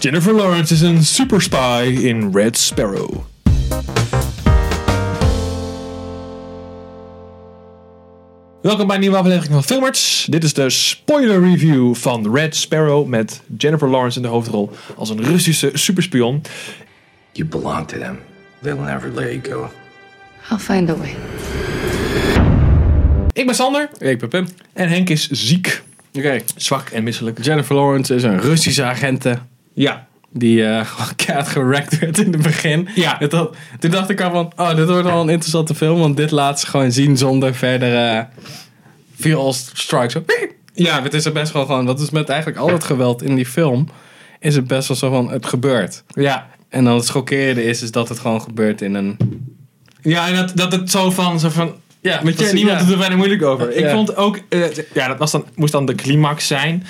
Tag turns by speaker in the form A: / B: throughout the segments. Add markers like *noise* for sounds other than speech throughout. A: Jennifer Lawrence is een super spy in Red Sparrow. Welkom bij een nieuwe aflevering van Filmarts. Dit is de spoiler review van Red Sparrow met Jennifer Lawrence in de hoofdrol als een Russische superspion.
B: You belong to them. They'll never let you go.
C: I'll find a way.
A: Ik ben Sander
D: Ik ben Pim. Oké.
A: en Henk is ziek, zwak en misselijk.
D: Jennifer Lawrence is een Russische agente
A: Ja,
D: die eh *laughs* gewoon keihard gerackt werd in het begin.
A: Ja.
D: Dat had- toen dacht ik al van, oh, dit wordt wel een interessante film, want dit laat ze gewoon zien zonder verdere visual strikes. Zo, piep. Ja, het is er best wel gewoon, dat is met eigenlijk al het geweld in die film, is het best wel zo van, het gebeurt.
A: ja.
D: En dan het schokkerende is, is dat het gewoon gebeurt in een...
A: Ja, en dat, dat het zo van, zo van
D: Ja,
A: Weet je,
D: precies,
A: niemand
D: ja.
A: doet er bijna moeilijk over. Ik
D: Ja.
A: vond ook, eh, ja, dat was dan, moest dan de climax zijn.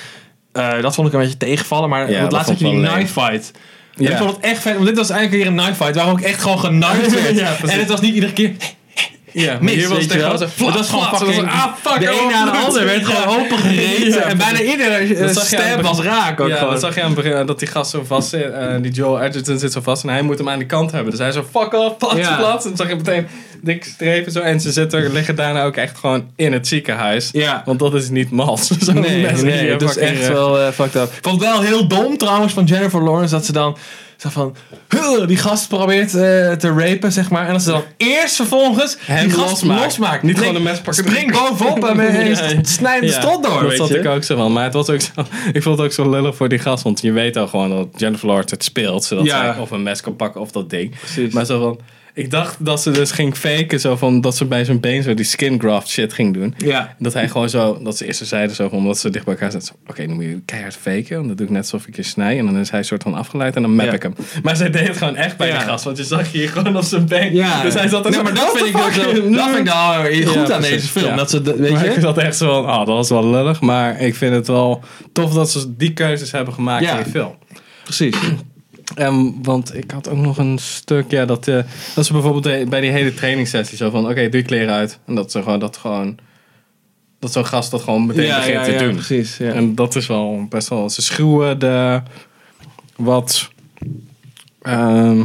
A: Eh, dat vond ik een beetje tegenvallen, maar
D: Ja,
A: het
D: dat
A: laatst had
D: vond
A: je
D: ik
A: die
D: wel leuk.
A: knife fight. En
D: Ja.
A: ik vond het echt vet, want dit was eigenlijk weer een knife fight, waar ook echt gewoon genaaid werd.
D: *laughs* Ja, precies.
A: en het was niet iedere keer
D: Ja, maar
A: mis,
D: hier was
A: weet
D: het
A: je
D: echt
A: wel.
D: wel zo,
A: Het was gewoon
D: flats,
A: fucking,
D: ah, fuck,
A: de
D: oh,
A: een na de
D: *laughs* bloed.
A: ander werd
D: Ja.
A: gewoon open gereten.
D: Ja,
A: en bijna iedere eh,
D: Dat zag je aan
A: stab
D: het
A: was raak ook
D: ja,
A: gewoon.
D: dat zag je aan het begin, eh, dat die gast zo vast zit. eh, die Joel Edgerton zit zo vast en hij moet hem aan de kant hebben. Dus hij zo, fuck off, plats,
A: Ja.
D: plats. En dan zag je meteen dik streven zo. En ze zitten, liggen daarna ook echt gewoon in het ziekenhuis.
A: Ja.
D: Want dat is niet mals.
A: *laughs*
D: *laughs* Zo
A: Nee,
D: mensen die
A: nee,
D: hier
A: het is
D: fucking,
A: echt
D: eh,
A: wel eh, fucked up. Ik vond het wel heel dom trouwens van Jennifer Lawrence dat ze dan zo van "Huh," die gast probeert eh, te rapen zeg maar en dat ze dan eerst vervolgens
D: Hem
A: die gast losmaakt,
D: losmaakt. Niet gewoon een mes pakken.
A: Spring bovenop
D: *laughs*
A: en eh,
D: Ja.
A: snijd de
D: ja,
A: strot door.
D: Dat
A: weet
D: zat
A: je.
D: ik ook zo van. Maar het was ook zo, *laughs* ik vond het ook zo lullig voor die gast. Want je weet al gewoon dat Jennifer Lawrence het speelt. Zodat
A: Ja.
D: zij of een mes kan pakken of dat ding.
A: Precies.
D: Maar zo van... Ik dacht dat ze dus ging faken. Zo van dat ze bij zijn been zo die skin graft shit ging doen.
A: Ja.
D: Dat hij gewoon zo, dat ze eerst zo zeiden zo van, omdat ze dicht bij elkaar zaten. zo, Oké, dan moet je keihard faken. Want dan doe ik net alsof ik je snij. En dan is hij soort van afgeleid en dan map
A: Ja.
D: ik hem. Maar zij deed het gewoon echt bij
A: Ja.
D: de gast. Want je zag hier gewoon op zijn
A: *laughs*
D: been.
A: Ja.
D: Dus hij zat er
A: Nee,
D: zo,
A: maar dat
D: "What
A: vind
D: the
A: ik dan
D: fuck?"
A: zo- dat vind ik nou goed
D: Ja,
A: aan
D: precies.
A: deze film.
D: Ja.
A: Dat ze, dat- weet
D: Maar ik
A: je?
D: zat echt zo van, ah, dat was wel lullig. Maar ik vind het wel tof dat ze die keuzes hebben gemaakt
A: Ja.
D: in die film.
A: Precies.
D: Ehm, want ik had ook nog een stuk, ja, dat, eh, dat ze bijvoorbeeld de- bij die hele trainingssessie zo van, oké, doe je kleren uit. En dat ze gewoon, dat gewoon, dat zo'n gast dat gewoon meteen
A: Ja,
D: begint
A: ja,
D: te
A: ja,
D: doen.
A: precies. Ja.
D: En dat is wel best wel, ze schroeven de, wat, ehm,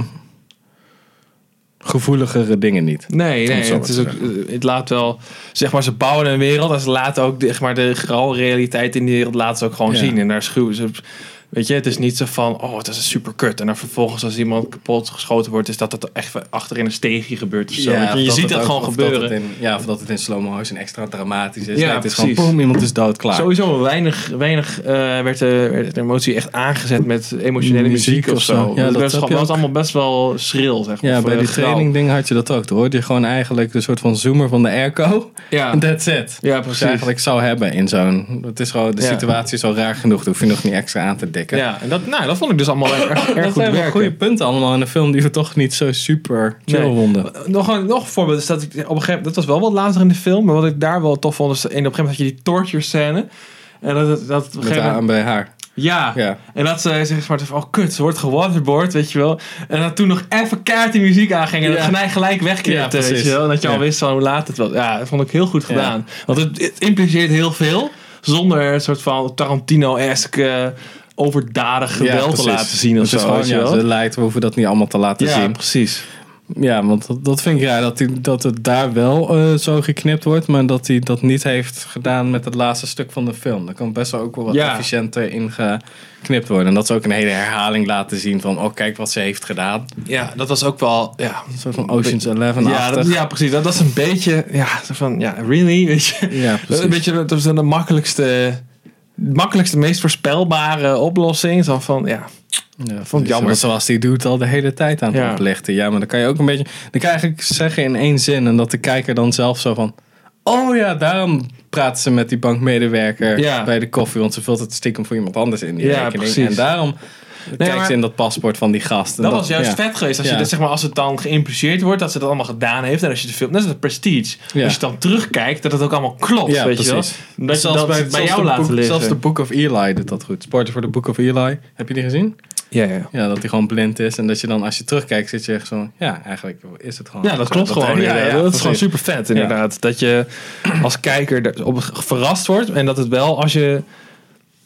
D: gevoeligere dingen niet.
A: Nee,
D: Om
A: nee
D: het zo
A: het,
D: maar
A: is
D: te
A: ook, eh, het laat wel, zeg maar, ze bouwen een wereld en ze laten ook de, zeg maar, de grauwe realiteit in die wereld laten ze ook gewoon
D: Ja.
A: zien. En daar schuwen ze, weet je, het is niet zo van, oh, het is super kut. En dan vervolgens als iemand kapot geschoten wordt, is dat dat echt achterin een steegje gebeurt of zo. Weet je,
D: of
A: je ziet
D: het
A: dat
D: ook-
A: gewoon
D: of dat
A: gebeuren.
D: het in- ja, of dat het in slow-mo is en extra dramatisch is.
A: Ja,
D: Nee, het is
A: precies.
D: gewoon, boom, iemand is dood, klaar.
A: Sowieso weinig, weinig eh, werd, eh, werd de emotie echt aangezet met emotionele muziek,
D: Muziek
A: of
D: of
A: zo.
D: zo. Ja,
A: dat
D: dat
A: was,
D: heb
A: gewoon-
D: je
A: was
D: ook.
A: allemaal best wel schril, zeg maar.
D: Ja,
A: of,
D: bij
A: eh,
D: die
A: grauw.
D: training ding had je dat ook. Toen hoorde je gewoon eigenlijk een soort van zoomer van de airco.
A: Ja,
D: En *laughs* that's it.
A: ja
D: Wat
A: precies.
D: je eigenlijk zou hebben in zo'n... Het is gewoon, de
A: Ja.
D: situatie is al raar genoeg. Daar hoef je nog niet extra aan te dikken.
A: Ja, en dat, nou, dat vond ik dus
D: *coughs*
A: allemaal erg, erg
D: eh, Dat
A: goed
D: zijn wel
A: werken.
D: goede punten allemaal in een film die we toch niet zo super chill
A: Nee.
D: vonden.
A: Nog een, nog een voorbeeld is dat ik op een gegeven moment, dat was wel wat later in de film, maar wat ik daar wel tof vond, is in op een gegeven moment had je die torture scène. En dat, dat, dat op een
D: Met
A: gegeven
D: haar
A: moment,
D: en bij haar.
A: ja.
D: Ja.
A: En dat ze zeg maar, oh kut, ze wordt gewaterboard, weet je wel. En dat toen nog even kaart die muziek aanging en
D: Ja.
A: dat hij gelijk wegknipte,
D: Ja,
A: weet
D: precies.
A: je wel. En dat je al
D: Ja.
A: wist van hoe laat het was. Ja, dat vond ik heel goed gedaan. Want het, het impliceert heel veel, zonder een soort van Tarantino-esque eh, overdadig
D: Ja,
A: geweld te
D: precies.
A: laten zien of
D: Het is
A: zo,
D: gewoon,
A: weet je
D: ja,
A: wel.
D: ze leidt, we hoeven dat niet allemaal te laten
A: Ja,
D: zien.
A: precies.
D: Ja, want dat, dat vind ik raar. Dat, die, dat het daar wel eh, zo geknipt wordt. Maar dat hij dat niet heeft gedaan met het laatste stuk van de film. Daar kan best wel ook wel wat
A: Ja.
D: efficiënter in geknipt worden. En dat ze ook een hele herhaling laten zien van... Oh, kijk wat ze heeft gedaan.
A: Ja, dat was ook wel, ja,
D: Een soort van Ocean's Eleven-achtig.
A: Ja, dat- ja, precies. Dat, dat is een beetje, ja, zo van, ja, really? Weet *laughs* je?
D: Ja, precies.
A: Dat is een beetje dat is dan de makkelijkste, makkelijkste, meest voorspelbare oplossing. Zo van, ja,
D: Ja,
A: vond ik jammer.
D: want Zoals die doet al de hele tijd aan het
A: Ja.
D: oplichten. Ja, maar dan kan je ook een beetje... Dan kan je eigenlijk zeggen in één zin. En dat de kijker dan zelf zo van... Oh ja, daarom praat ze met die bankmedewerker
A: Ja.
D: bij de koffie. Want ze vult het stiekem voor iemand anders in die
A: Ja,
D: rekening.
A: precies.
D: En daarom kijkt
A: maar-
D: ze in dat paspoort van die gast. En
A: dat, was juist
D: ja.
A: vet geweest. Als je
D: Ja.
A: dat, zeg maar, als het dan geïmpliceerd wordt dat ze dat allemaal gedaan heeft. En als je de film, net als het prestige.
D: Ja.
A: Als je dan terugkijkt, dat het ook allemaal klopt.
D: Ja,
A: weet
D: precies.
A: je wel? Dat je
D: Zelfs
A: dat bij,
D: zelfs
A: jou
D: de
A: laten
D: boek-
A: liggen.
D: Zelfs de Book of Eli doet dat goed. Spoiler voor de Book of Eli. Heb je die gezien?
A: ja, ja.
D: Ja, dat hij gewoon blind is. En dat je dan als je terugkijkt zit je echt zo... Ja, eigenlijk is het gewoon...
A: Ja, dat klopt gewoon.
D: hij-
A: Ja, ja, dat is gewoon
D: precies.
A: super vet, inderdaad. Dat je als kijker er op verrast wordt. En dat het wel, als je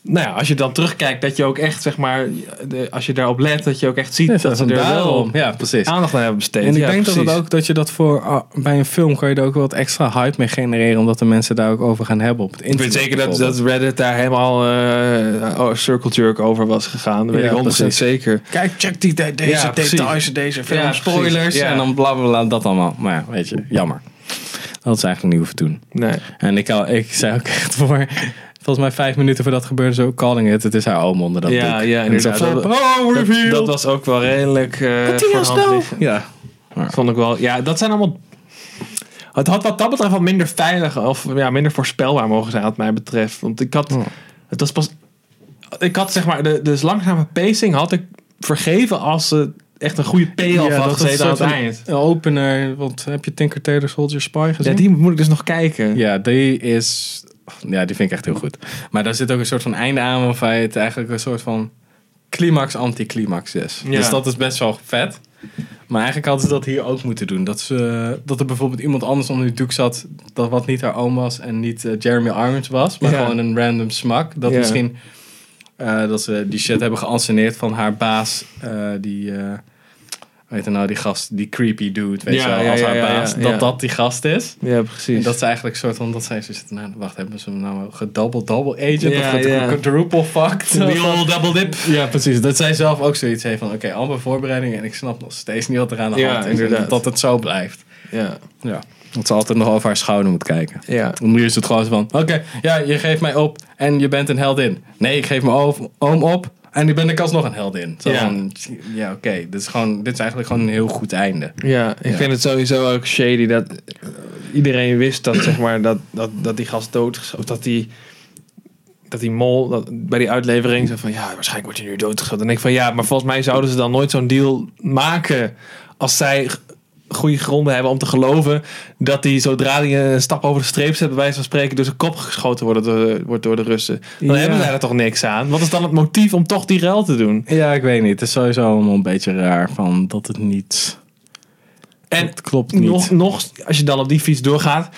A: nou ja, als je dan terugkijkt, dat je ook echt, zeg maar, de- als je daarop let, dat je ook echt ziet
D: Ja,
A: dat, ze er wel
D: Ja, precies.
A: aandacht aan hebben besteed.
D: Ah, En ik
A: Ja,
D: denk dat,
A: precies.
D: het ook, dat je dat voor ah, bij een film kan je er ook wel wat extra hype mee genereren. Omdat de mensen daar ook over gaan hebben op het
A: Ik
D: internet.
A: weet zeker dat,
D: bijvoorbeeld.
A: dat Reddit daar helemaal eh, oh, circle jerk over was gegaan. Dat weet
D: Ja,
A: ik 100%
D: precies.
A: zeker.
D: Kijk, check die, de- deze
A: Ja, precies.
D: details, deze film.
A: Ja, precies.
D: spoilers.
A: Ja.
D: En dan bla bla bla, dat allemaal. Maar ja, weet je, jammer. Dat had ze eigenlijk niet hoeven doen.
A: Nee.
D: En ik, al- ik zei ook echt voor, volgens mij vijf minuten voordat gebeurde, zo calling it. Het is haar oom onder dat
A: Ja,
D: doek.
A: ja,
D: En ik zo,
A: inderdaad.
D: flap, oh,
A: Dat,
D: reveal.
A: dat was ook wel redelijk. eh voor de hand liggend.
D: nou? Ja.
A: Vond ik wel. Ja, dat zijn allemaal. Het had wat dat betreft wel minder veilig of ja, minder voorspelbaar mogen zijn, wat mij betreft. Want ik
D: Hmm.
A: had. Het was pas. Ik had zeg maar. De, dus langzame pacing had ik vergeven als ze echt een goede payoff
D: Ja,
A: had
D: dat is
A: gezeten aan het
D: soort van
A: eind.
D: Een opener, want heb je Tinker Tailor Soldier Spy gezien?
A: Ja, die moet ik dus nog kijken.
D: Ja, die is. Ja, die vind ik echt heel goed. Maar daar zit ook een soort van einde aan waarbij het eigenlijk een soort van climax-anticlimax is.
A: Ja.
D: Dus dat is best wel vet. Maar eigenlijk hadden ze dat hier ook moeten doen. Dat, ze, dat er bijvoorbeeld iemand anders onder die doek zat. Dat wat niet haar oom was en niet eh, Jeremy Irons was. Maar
A: Ja.
D: gewoon een random smak. Dat
A: Ja.
D: misschien eh, dat ze die shit hebben geanceneerd van haar baas. eh, die, eh weet je nou, die gast, die creepy dude. Weet
A: Ja,
D: je wel,
A: ja,
D: als
A: ja,
D: haar
A: ja,
D: baas.
A: ja,
D: dat
A: ja.
D: dat die gast is.
A: Ja, precies.
D: En dat ze eigenlijk soort van, dat zij zo zitten, nou, wacht, hebben ze hem nou gedouble-double agent
A: Ja,
D: of gedru-
A: ja.
D: quadruple fucked?
A: *laughs*
D: *laughs*
A: The old double dip.
D: Ja, precies. Dat zij zelf ook zoiets heeft van, oké, allemaal voorbereidingen en ik snap nog steeds niet wat er aan de
A: Ja,
D: hand is. En
A: inderdaad.
D: dat het zo blijft.
A: Ja.
D: Ja. Dat ze altijd nog over haar schouder moet kijken.
A: Ja.
D: En nu is het gewoon zo van, oké, ja, je geeft mij op en je bent een heldin. Nee, ik geef mijn oom- oom op en nu ben ik alsnog een heldin. Zo
A: Ja.
D: van, ja, oké, dit is gewoon, dit is eigenlijk gewoon een heel goed einde.
A: Ja, ik vind het sowieso ook shady dat eh, iedereen wist dat, zeg maar, dat, dat, dat die gast dood is. Of dat die, dat die mol dat, bij die uitlevering zei van ja, waarschijnlijk word je nu doodgeschoten. En ik van ja, maar volgens mij zouden ze dan nooit zo'n deal maken als zij g- goede gronden hebben om te geloven dat die zodra die een stap over de streep zet, bij wijze van spreken, door zijn kop geschoten wordt door, wordt door de Russen. Dan
D: Ja.
A: hebben zij er toch niks aan. Wat is dan het motief om toch die ruil te doen?
D: Ja, ik weet niet. Het is sowieso allemaal een beetje raar van dat het niet.
A: En
D: het klopt niet.
A: Nog, nog, als je dan op die fiets doorgaat.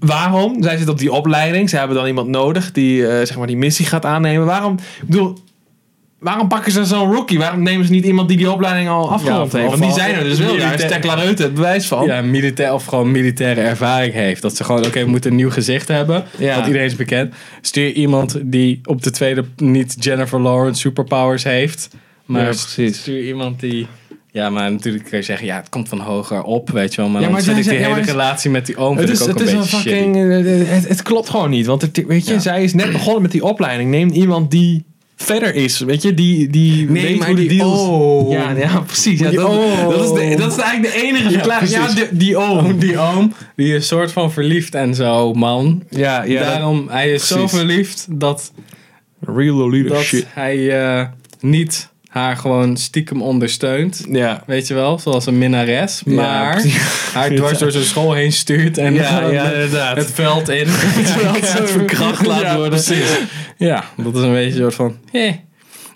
A: Waarom? Zij zitten op die opleiding. Ze hebben dan iemand nodig die eh, zeg maar die missie gaat aannemen. Waarom? Ik bedoel, waarom pakken ze zo'n rookie? Waarom nemen ze niet iemand die die opleiding al afgerond
D: of-
A: heeft?
D: of
A: Want die
D: al-
A: zijn er dus wel. Daar is
D: militair-
A: Tekla Reuten het bewijs van.
D: Ja, militair of gewoon militaire ervaring heeft. Dat ze gewoon, oké, we moeten een nieuw gezicht hebben.
A: Ja.
D: Want iedereen is bekend. Stuur iemand die op de tweede niet Jennifer Lawrence superpowers heeft. Maar
A: Ja, precies.
D: stuur iemand die. Ja, maar natuurlijk kun je zeggen, ja, het komt van hoger op, weet je wel. Maar
A: Ja,
D: dan
A: maar
D: vind
A: zij
D: ik die
A: zijn- ja,
D: hele
A: maar-
D: relatie met die oom
A: Het
D: vind
A: is,
D: ik ook
A: het
D: een
A: is een
D: beetje shitty.
A: fucking. eh, Het, het klopt gewoon niet. Want het, weet je,
D: Ja.
A: zij is net begonnen met die opleiding. Neem iemand die verder is. Weet je, die, die
D: Nee,
A: weet
D: maar
A: hoe de
D: die Oh.
A: deals.
D: oom.
A: Ja, ja, precies. Ja,
D: Die
A: dat,
D: oom.
A: dat, is de, dat is eigenlijk de enige
D: Ja,
A: verklaring. Ja,
D: precies. Oh,
A: die, die oom.
D: Die oom, die is soort van verliefd en zo, man.
A: Ja, ja. dat-
D: Daarom, hij is
A: precies. Oh,
D: zo verliefd dat
A: Real Lolita
D: dat hij eh, niet haar gewoon stiekem ondersteunt.
A: Ja.
D: Weet je wel, zoals een minnares.
A: Ja,
D: Maar *laughs* haar dwars door zijn school heen stuurt en
A: Ja,
D: eh,
A: ja,
D: het-
A: inderdaad.
D: het veld
A: *laughs*
D: *laughs* in.
A: Terwijl het zo verkracht laat
D: Ja,
A: worden.
D: Precies. Ja, dat is een beetje een soort van. eh.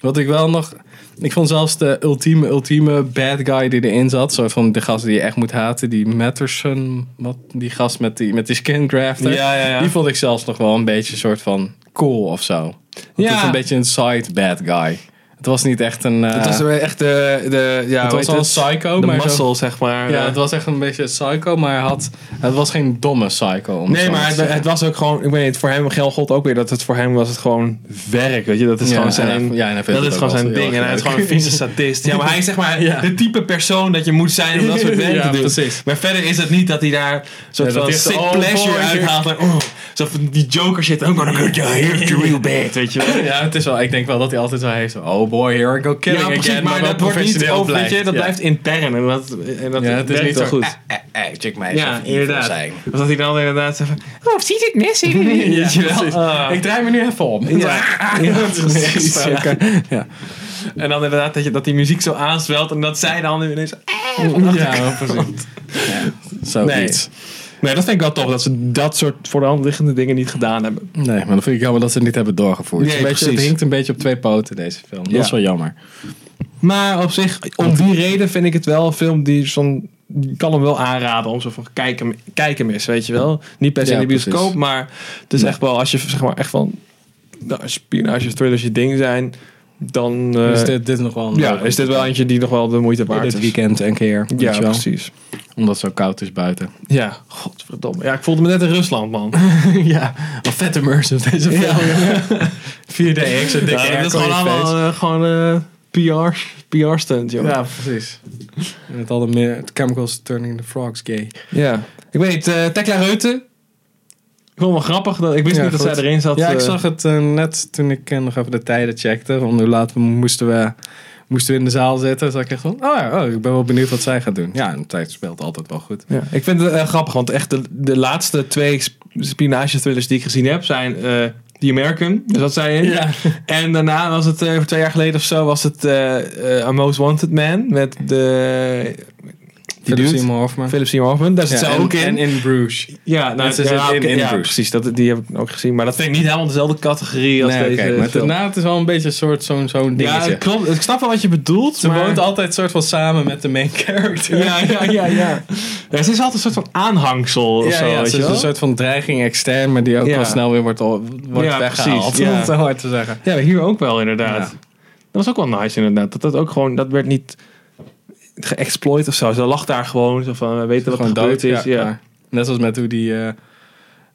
D: Wat ik wel nog. Ik vond zelfs de ultieme, ultieme bad guy die erin zat. Soort van de gast die je echt moet haten. Die Matterson. Wat, die gast met die, met die skin grafter.
A: Ja, ja, ja.
D: Die vond ik zelfs nog wel een beetje een soort van cool of zo. Ja. Het
A: Ja.
D: is een beetje een side bad guy. Het was niet echt een. eh,
A: Het was wel echt de, de ja, hoe
D: het was
A: heet
D: wel een psycho,
A: de
D: maar zo-
A: muscle, zeg maar.
D: ja, het was echt een beetje een psycho, maar hij had, het was geen domme psycho. om
A: nee,
D: zo
A: maar
D: te
A: het,
D: zeggen.
A: het was ook gewoon, ik weet niet, voor hem geld god ook weer dat het voor hem was het gewoon werk, weet je, dat is
D: Ja,
A: gewoon
D: en
A: zijn,
D: hij- ja, en hij vindt
A: dat
D: het
A: is
D: ook
A: gewoon
D: wel
A: zijn
D: heel
A: ding en
D: erg
A: hij is
D: leuk. *laughs*
A: gewoon een vieze statist. Ja, maar hij is zeg maar
D: Ja.
A: de type persoon dat je moet zijn om dat
D: *laughs*
A: soort werk
D: Ja,
A: te doen.
D: precies.
A: Maar verder is het niet dat hij daar een soort
D: Ja, dat
A: van
D: hij echt
A: sick
D: zo, oh,
A: pleasure
D: boy.
A: uithaalt. en, oh, zo van die joker shit, I'm gonna cut your hair to real bad, weet je wel.
D: *laughs* Ja, het is wel, ik denk wel dat hij altijd zo heeft. Oh boy, here I go killing
A: Ja, precies,
D: again.
A: maar,
D: wel
A: dat wordt niet
D: professioneel
A: over, weet je, dat
D: ja.
A: blijft intern en dat, en dat
D: Ja, het is
A: werkt
D: niet
A: wel
D: zo
A: goed.
D: goed. Eh, eh, eh, check mij eens
A: Ja,
D: even evil
A: inderdaad.
D: zijn.
A: Of dat hij dan inderdaad zegt van, oh, ziet het mes in? *laughs* Weet je wel?
D: precies.
A: Ah.
D: Ik draai me nu even om.
A: Ja. Ja, precies,
D: Ja.
A: ja.
D: Ja.
A: En dan inderdaad dat, je, dat die muziek zo aanzwelt en dat zij dan ineens... eh, van achter-
D: *laughs* Ja, *laughs* precies. Zoiets.
A: Nee, dat vind ik wel tof, dat ze dat soort voor de hand liggende dingen niet gedaan hebben.
D: Nee. maar dan vind ik jammer dat ze het niet hebben doorgevoerd.
A: Nee,
D: Het is een beetje, het
A: precies.
D: hinkt een beetje op twee poten deze film. Dat
A: Ja.
D: is wel jammer.
A: Maar op zich, om die reden vind ik het wel een film die zo'n... Ik kan hem wel aanraden om zo van kijk hem, kijk hem eens, weet je wel. Niet per se
D: Ja,
A: in de bioscoop,
D: precies.
A: maar het is echt wel als je zeg maar echt van... nou, spionages, thrillers je ding zijn, dan eh,
D: dus dit, dit is nog wel een
A: ja,
D: leuke.
A: is dit wel eentje die nog wel de moeite waard
D: dit
A: is.
D: weekend een keer. weet
A: Ja,
D: je wel.
A: precies.
D: Omdat het zo koud is buiten.
A: Ja, godverdomme. Ja, ik voelde me net in Rusland, man.
D: *laughs* ja, wat vet immersive deze film. *laughs* 4DX en dikke
A: Ja, dat is
D: airco
A: gewoon
D: in je
A: allemaal
D: face.
A: eh, gewoon PR, PR stunt, joh.
D: Ja, precies. Met al de me- chemicals turning the frogs gay.
A: Ja. Ik weet, eh Tekla Reuten. Ik vond het wel grappig. Dat, ik wist
D: Ja,
A: niet
D: goed.
A: dat zij erin zat.
D: ja, ik
A: eh,
D: zag het eh, net toen ik eh, nog even de tijden checkte. Van hoe laat we moesten we, moesten we in de zaal zitten. Zag ik echt van, oh ja, oh, ik ben wel benieuwd wat zij gaat doen. Ja, en tijd speelt altijd wel goed.
A: ja. Ik vind het eh, grappig, want echt de, de laatste twee sp- spionage-thrillers die ik gezien heb zijn eh The American, dus dat zei in. *laughs* En daarna was het, eh, twee jaar geleden of zo, was het eh eh A Most Wanted Man met de, die
D: Philip
A: dude,
D: Seymour Hoffman.
A: Philip Seymour Hoffman. Daar zit
D: Ja,
A: ze
D: en,
A: ook in.
D: En in Bruges.
A: ja, nou,
D: en ze
A: ja,
D: zit in-
A: oké,
D: in
A: ja,
D: Bruce.
A: precies, dat, die heb ik ook gezien. Maar dat vind ik niet helemaal dezelfde categorie als
D: Nee, oké,
A: deze
D: maar
A: film.
D: daarna het is wel een beetje een soort zo'n zo'n
A: Ja,
D: dingetje.
A: het klopt. Ik snap wel wat je bedoelt.
D: ze
A: maar...
D: woont altijd soort van samen met de main character.
A: Ja, ja,
D: *laughs*
A: ja, ja. ja ze is altijd een soort van aanhangsel of
D: Ja,
A: zo,
D: ja,
A: weet
D: ze
A: je
D: is
A: wel?
D: een soort van dreiging extern, maar die ook
A: Ja.
D: wel snel weer wordt, al, wordt
A: Ja,
D: weggehaald.
A: precies, ja.
D: Om het zo hard te zeggen.
A: Ja, hier ook wel inderdaad.
D: Ja.
A: Dat was ook wel nice inderdaad. Dat dat ook gewoon, dat werd niet geëxploit of zo. Ze lag daar gewoon, zo van, we weten wat er
D: Gewoon
A: gebeurd
D: dood
A: is. Ja,
D: klaar. Net als met hoe die, eh,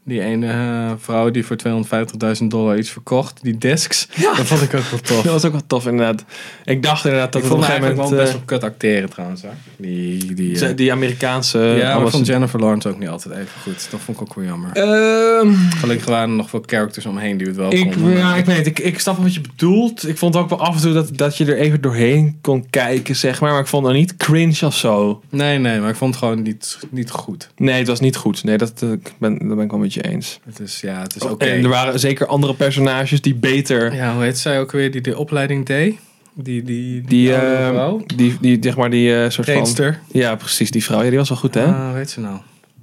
D: die ene eh, vrouw die voor 250.000 dollar iets verkocht, die
A: *laughs*
D: desks. Dat vond ik ook wel tof.
A: Dat was ook wel tof inderdaad. Ik dacht inderdaad dat
D: ik
A: het op
D: vond
A: een
D: haar
A: gegeven
D: eigenlijk wel
A: moment...
D: best
A: eh,
D: wel kut acteren trouwens. Hoor. Die, die, eh,
A: ze- die eh, Amerikaanse...
D: ja, maar ik
A: ambas-
D: vond Jennifer Lawrence ook niet altijd even goed. Dat vond ik ook wel jammer.
A: Ehm,
D: Gelukkig waren er nog veel characters omheen die het wel
A: ik,
D: konden.
A: ja, ik weet het. Ik, ik snap wel wat je bedoelt. Ik vond ook wel af en toe dat, dat je er even doorheen kon kijken, zeg maar. Maar ik vond het niet cringe of zo.
D: Nee, nee, maar ik vond het gewoon niet, niet goed.
A: Nee, het was niet goed. Nee, dat, eh, ik ben, dat ben ik wel met je eens.
D: Het is, ja, het is oké.
A: Oh, En er waren zeker andere personages die beter.
D: Ja, hoe heet zij ook weer die de opleiding deed? Die, die, die,
A: Die,
D: oude
A: eh,
D: vrouw?
A: die, die, zeg maar, die eh, soort van.
D: Trainster.
A: Ja, precies. Die vrouw. Ja, die was wel goed, hè?
D: Ah, hoe heet ze nou?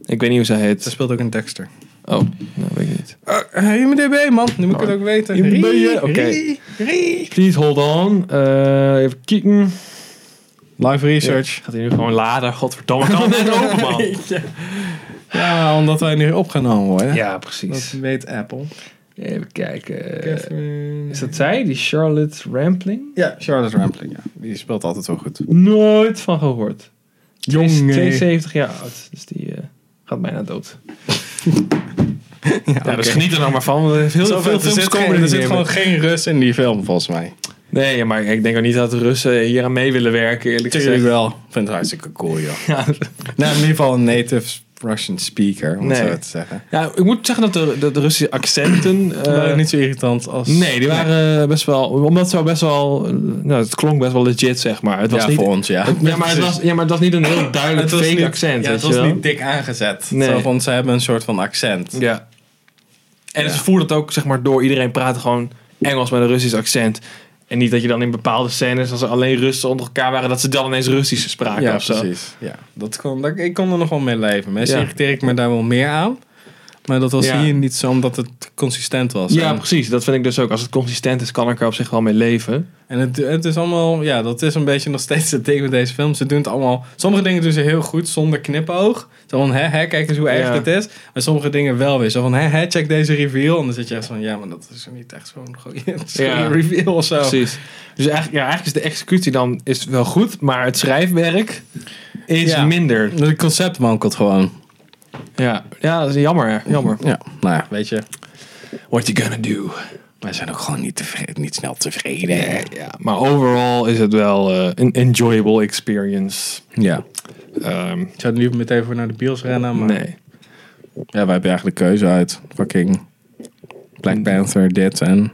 A: Ik weet niet hoe zij
D: Ze
A: heet.
D: speelt ook een Dexter.
A: Oh, nou weet ik niet.
D: Uh, IMDB, man. Nu moet ik
A: Oh.
D: het ook weten.
A: IMDb,
D: Rie,
A: oké.
D: rie, rie.
A: Please hold on. Eh, even kieken.
D: Live research.
A: Gaat hij nu gewoon laden? Godverdomme, kan het net open, man.
D: Ja. omdat wij nu opgenomen
A: *laughs*
D: worden.
A: Ja,
D: Dat
A: precies.
D: weet Apple.
A: Even kijken.
D: Catherine-
A: Eh, Is dat zij? Die Charlotte Rampling?
D: Ja, Charlotte Rampling. Ja. Die speelt altijd wel goed.
A: Nooit van gehoord.
D: Jongen.
A: 72 jaar oud. Dus die eh, gaat bijna
D: *laughs*
A: dood.
D: Ja,
A: Ja, dus
D: oké.
A: geniet er nou maar van. want er is Heel
D: Zoveel
A: veel
D: er
A: films
D: zit,
A: komen dus er
D: geen, er
A: niet
D: zit
A: meer
D: gewoon geen rust in die film, volgens mij.
A: Nee, maar ik denk ook niet dat de Russen hier aan mee willen werken, eerlijk
D: Tuurlijk
A: gezegd.
D: wel. Ik vind het hartstikke cool, joh.
A: Ja,
D: Nou, in ieder geval een native Russian speaker, om
A: Nee.
D: het zo te zeggen.
A: ja, ik moet zeggen dat de, de, de Russische accenten... eh,
D: Eh, niet zo irritant als...
A: nee, die waren eh, best wel... Omdat ze wel best wel... eh, Nou, het klonk best wel legit, zeg maar. Het was
D: ja,
A: niet,
D: voor ons, ja.
A: ja, maar het was, ja, maar het was niet een heel duidelijk fake accent,
D: Ja,
A: weet
D: het
A: je
D: was
A: wel.
D: niet dik aangezet.
A: Nee.
D: Zo van, ze hebben een soort van accent.
A: Ja. En
D: Ja.
A: ze voeren het ook, zeg maar, door. Iedereen praat gewoon Engels met een Russisch accent. En niet dat je dan in bepaalde scènes, als er alleen Russen onder elkaar waren, dat ze dan ineens Russisch spraken
D: Ja,
A: of zo.
D: precies. Ja, dat kon, dat, ik kon er nog wel mee leven. Mensen
A: Ja.
D: irriteer ik me daar wel meer aan. Maar dat was
A: Ja.
D: hier niet zo, omdat het consistent was.
A: Ja,
D: En,
A: precies. Dat vind ik dus ook. Als het consistent is, kan ik er op zich wel mee leven.
D: en het, het is allemaal... Ja, dat is een beetje nog steeds het ding met deze film. Ze doen het allemaal... Sommige dingen doen ze heel goed, zonder knipoog. Zo van, hè, hè, kijk eens hoe erg
A: Ja.
D: dit is. Maar sommige dingen wel weer. Zo van, hè, hè, check deze reveal. En dan zit je echt van, ja, maar dat is niet echt *laughs* zo'n goede
A: Ja.
D: goede reveal of zo.
A: Precies. Dus eigenlijk, ja, eigenlijk is de executie dan is wel goed, maar het schrijfwerk is
D: Ja.
A: minder.
D: Dus Het concept wankelt gewoon.
A: Ja. ja, dat is jammer. hè. Jammer.
D: Ja, nou ja, weet je.
A: What you gonna do?
D: Wij zijn ook gewoon niet, tevreden, niet snel tevreden.
A: Ja, maar overall is het wel eh, een enjoyable experience.
D: Ja.
A: Ehm,
D: Ik zou nu meteen voor naar de bios rennen, maar...
A: nee.
D: Ja, wij hebben eigenlijk keuze uit. Fucking Black Panther, dit en...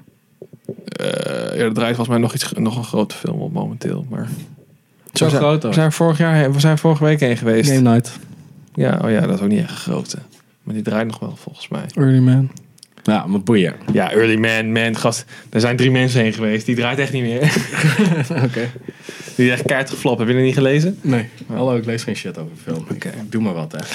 A: Eh, ja, er draait volgens mij nog, iets, nog een grote film op momenteel. Maar
D: Zo
A: we zijn,
D: groot
A: We
D: ook.
A: zijn, vorig jaar, heen- we zijn vorige week heen geweest.
D: Game Night.
A: Ja, oh ja, dat is ook niet echt een grote. Maar die draait nog wel volgens mij.
D: Early Man. Ja, maar boeien.
A: Ja, Early Man, Man, gast. Er zijn drie mensen heen geweest. Die draait echt niet meer.
D: *laughs* Oké.
A: Die is echt kaart geflopt. Heb je dat niet gelezen?
D: Nee. Hallo, ik lees geen shit over film.
A: Oké.
D: Ik Doe maar wat, hè. *laughs*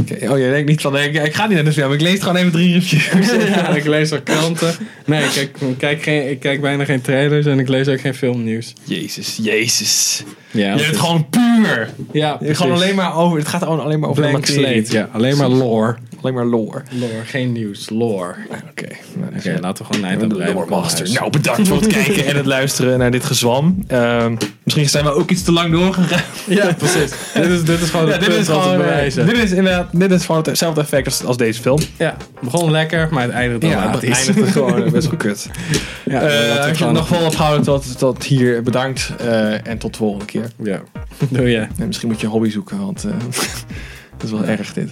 A: Oké, Oh, je denkt niet van, nee, ik, ik ga niet naar de film. Ik lees gewoon even drie reviews.
D: Ja, ik lees ook kranten. Nee, ik kijk, ik kijk geen, ik kijk bijna geen trailers en ik lees ook geen filmnieuws.
A: Jezus, jezus.
D: Ja,
A: Je bent gewoon puur.
D: Ja,
A: Gewoon alleen maar over, het gaat gewoon alleen maar over
D: Blank
A: de materie.
D: slate. Ja, alleen maar lore.
A: Alleen maar lore.
D: Lore, geen nieuws, lore. Oké,
A: Oké, nou, dat is heel-
D: laten we gewoon eind aan
A: de
D: breien.
A: Loremaster. Nou, bedankt voor het
D: *laughs*
A: kijken en het luisteren naar dit gezwam. Ehm, misschien zijn we ook iets te lang doorgegaan.
D: *laughs* Ja, precies. dit, is, dit is gewoon
A: Ja,
D: het punt wat we
A: eh,
D: bewijzen.
A: dit is inderdaad dit is gewoon hetzelfde effect als, als deze film.
D: ja, begon lekker, maar het eindigde
A: Ja, het
D: dramatisch. *laughs*
A: eindigt gewoon eh, best wel kut.
D: Ja,
A: Eh,
D: laten we
A: als je het
D: gewoon-
A: nog vol ophouden tot, tot hier, bedankt. eh, en tot de volgende keer.
D: Ja, doe je.
A: *laughs* En misschien moet je een hobby zoeken, want eh, dat is wel erg dit.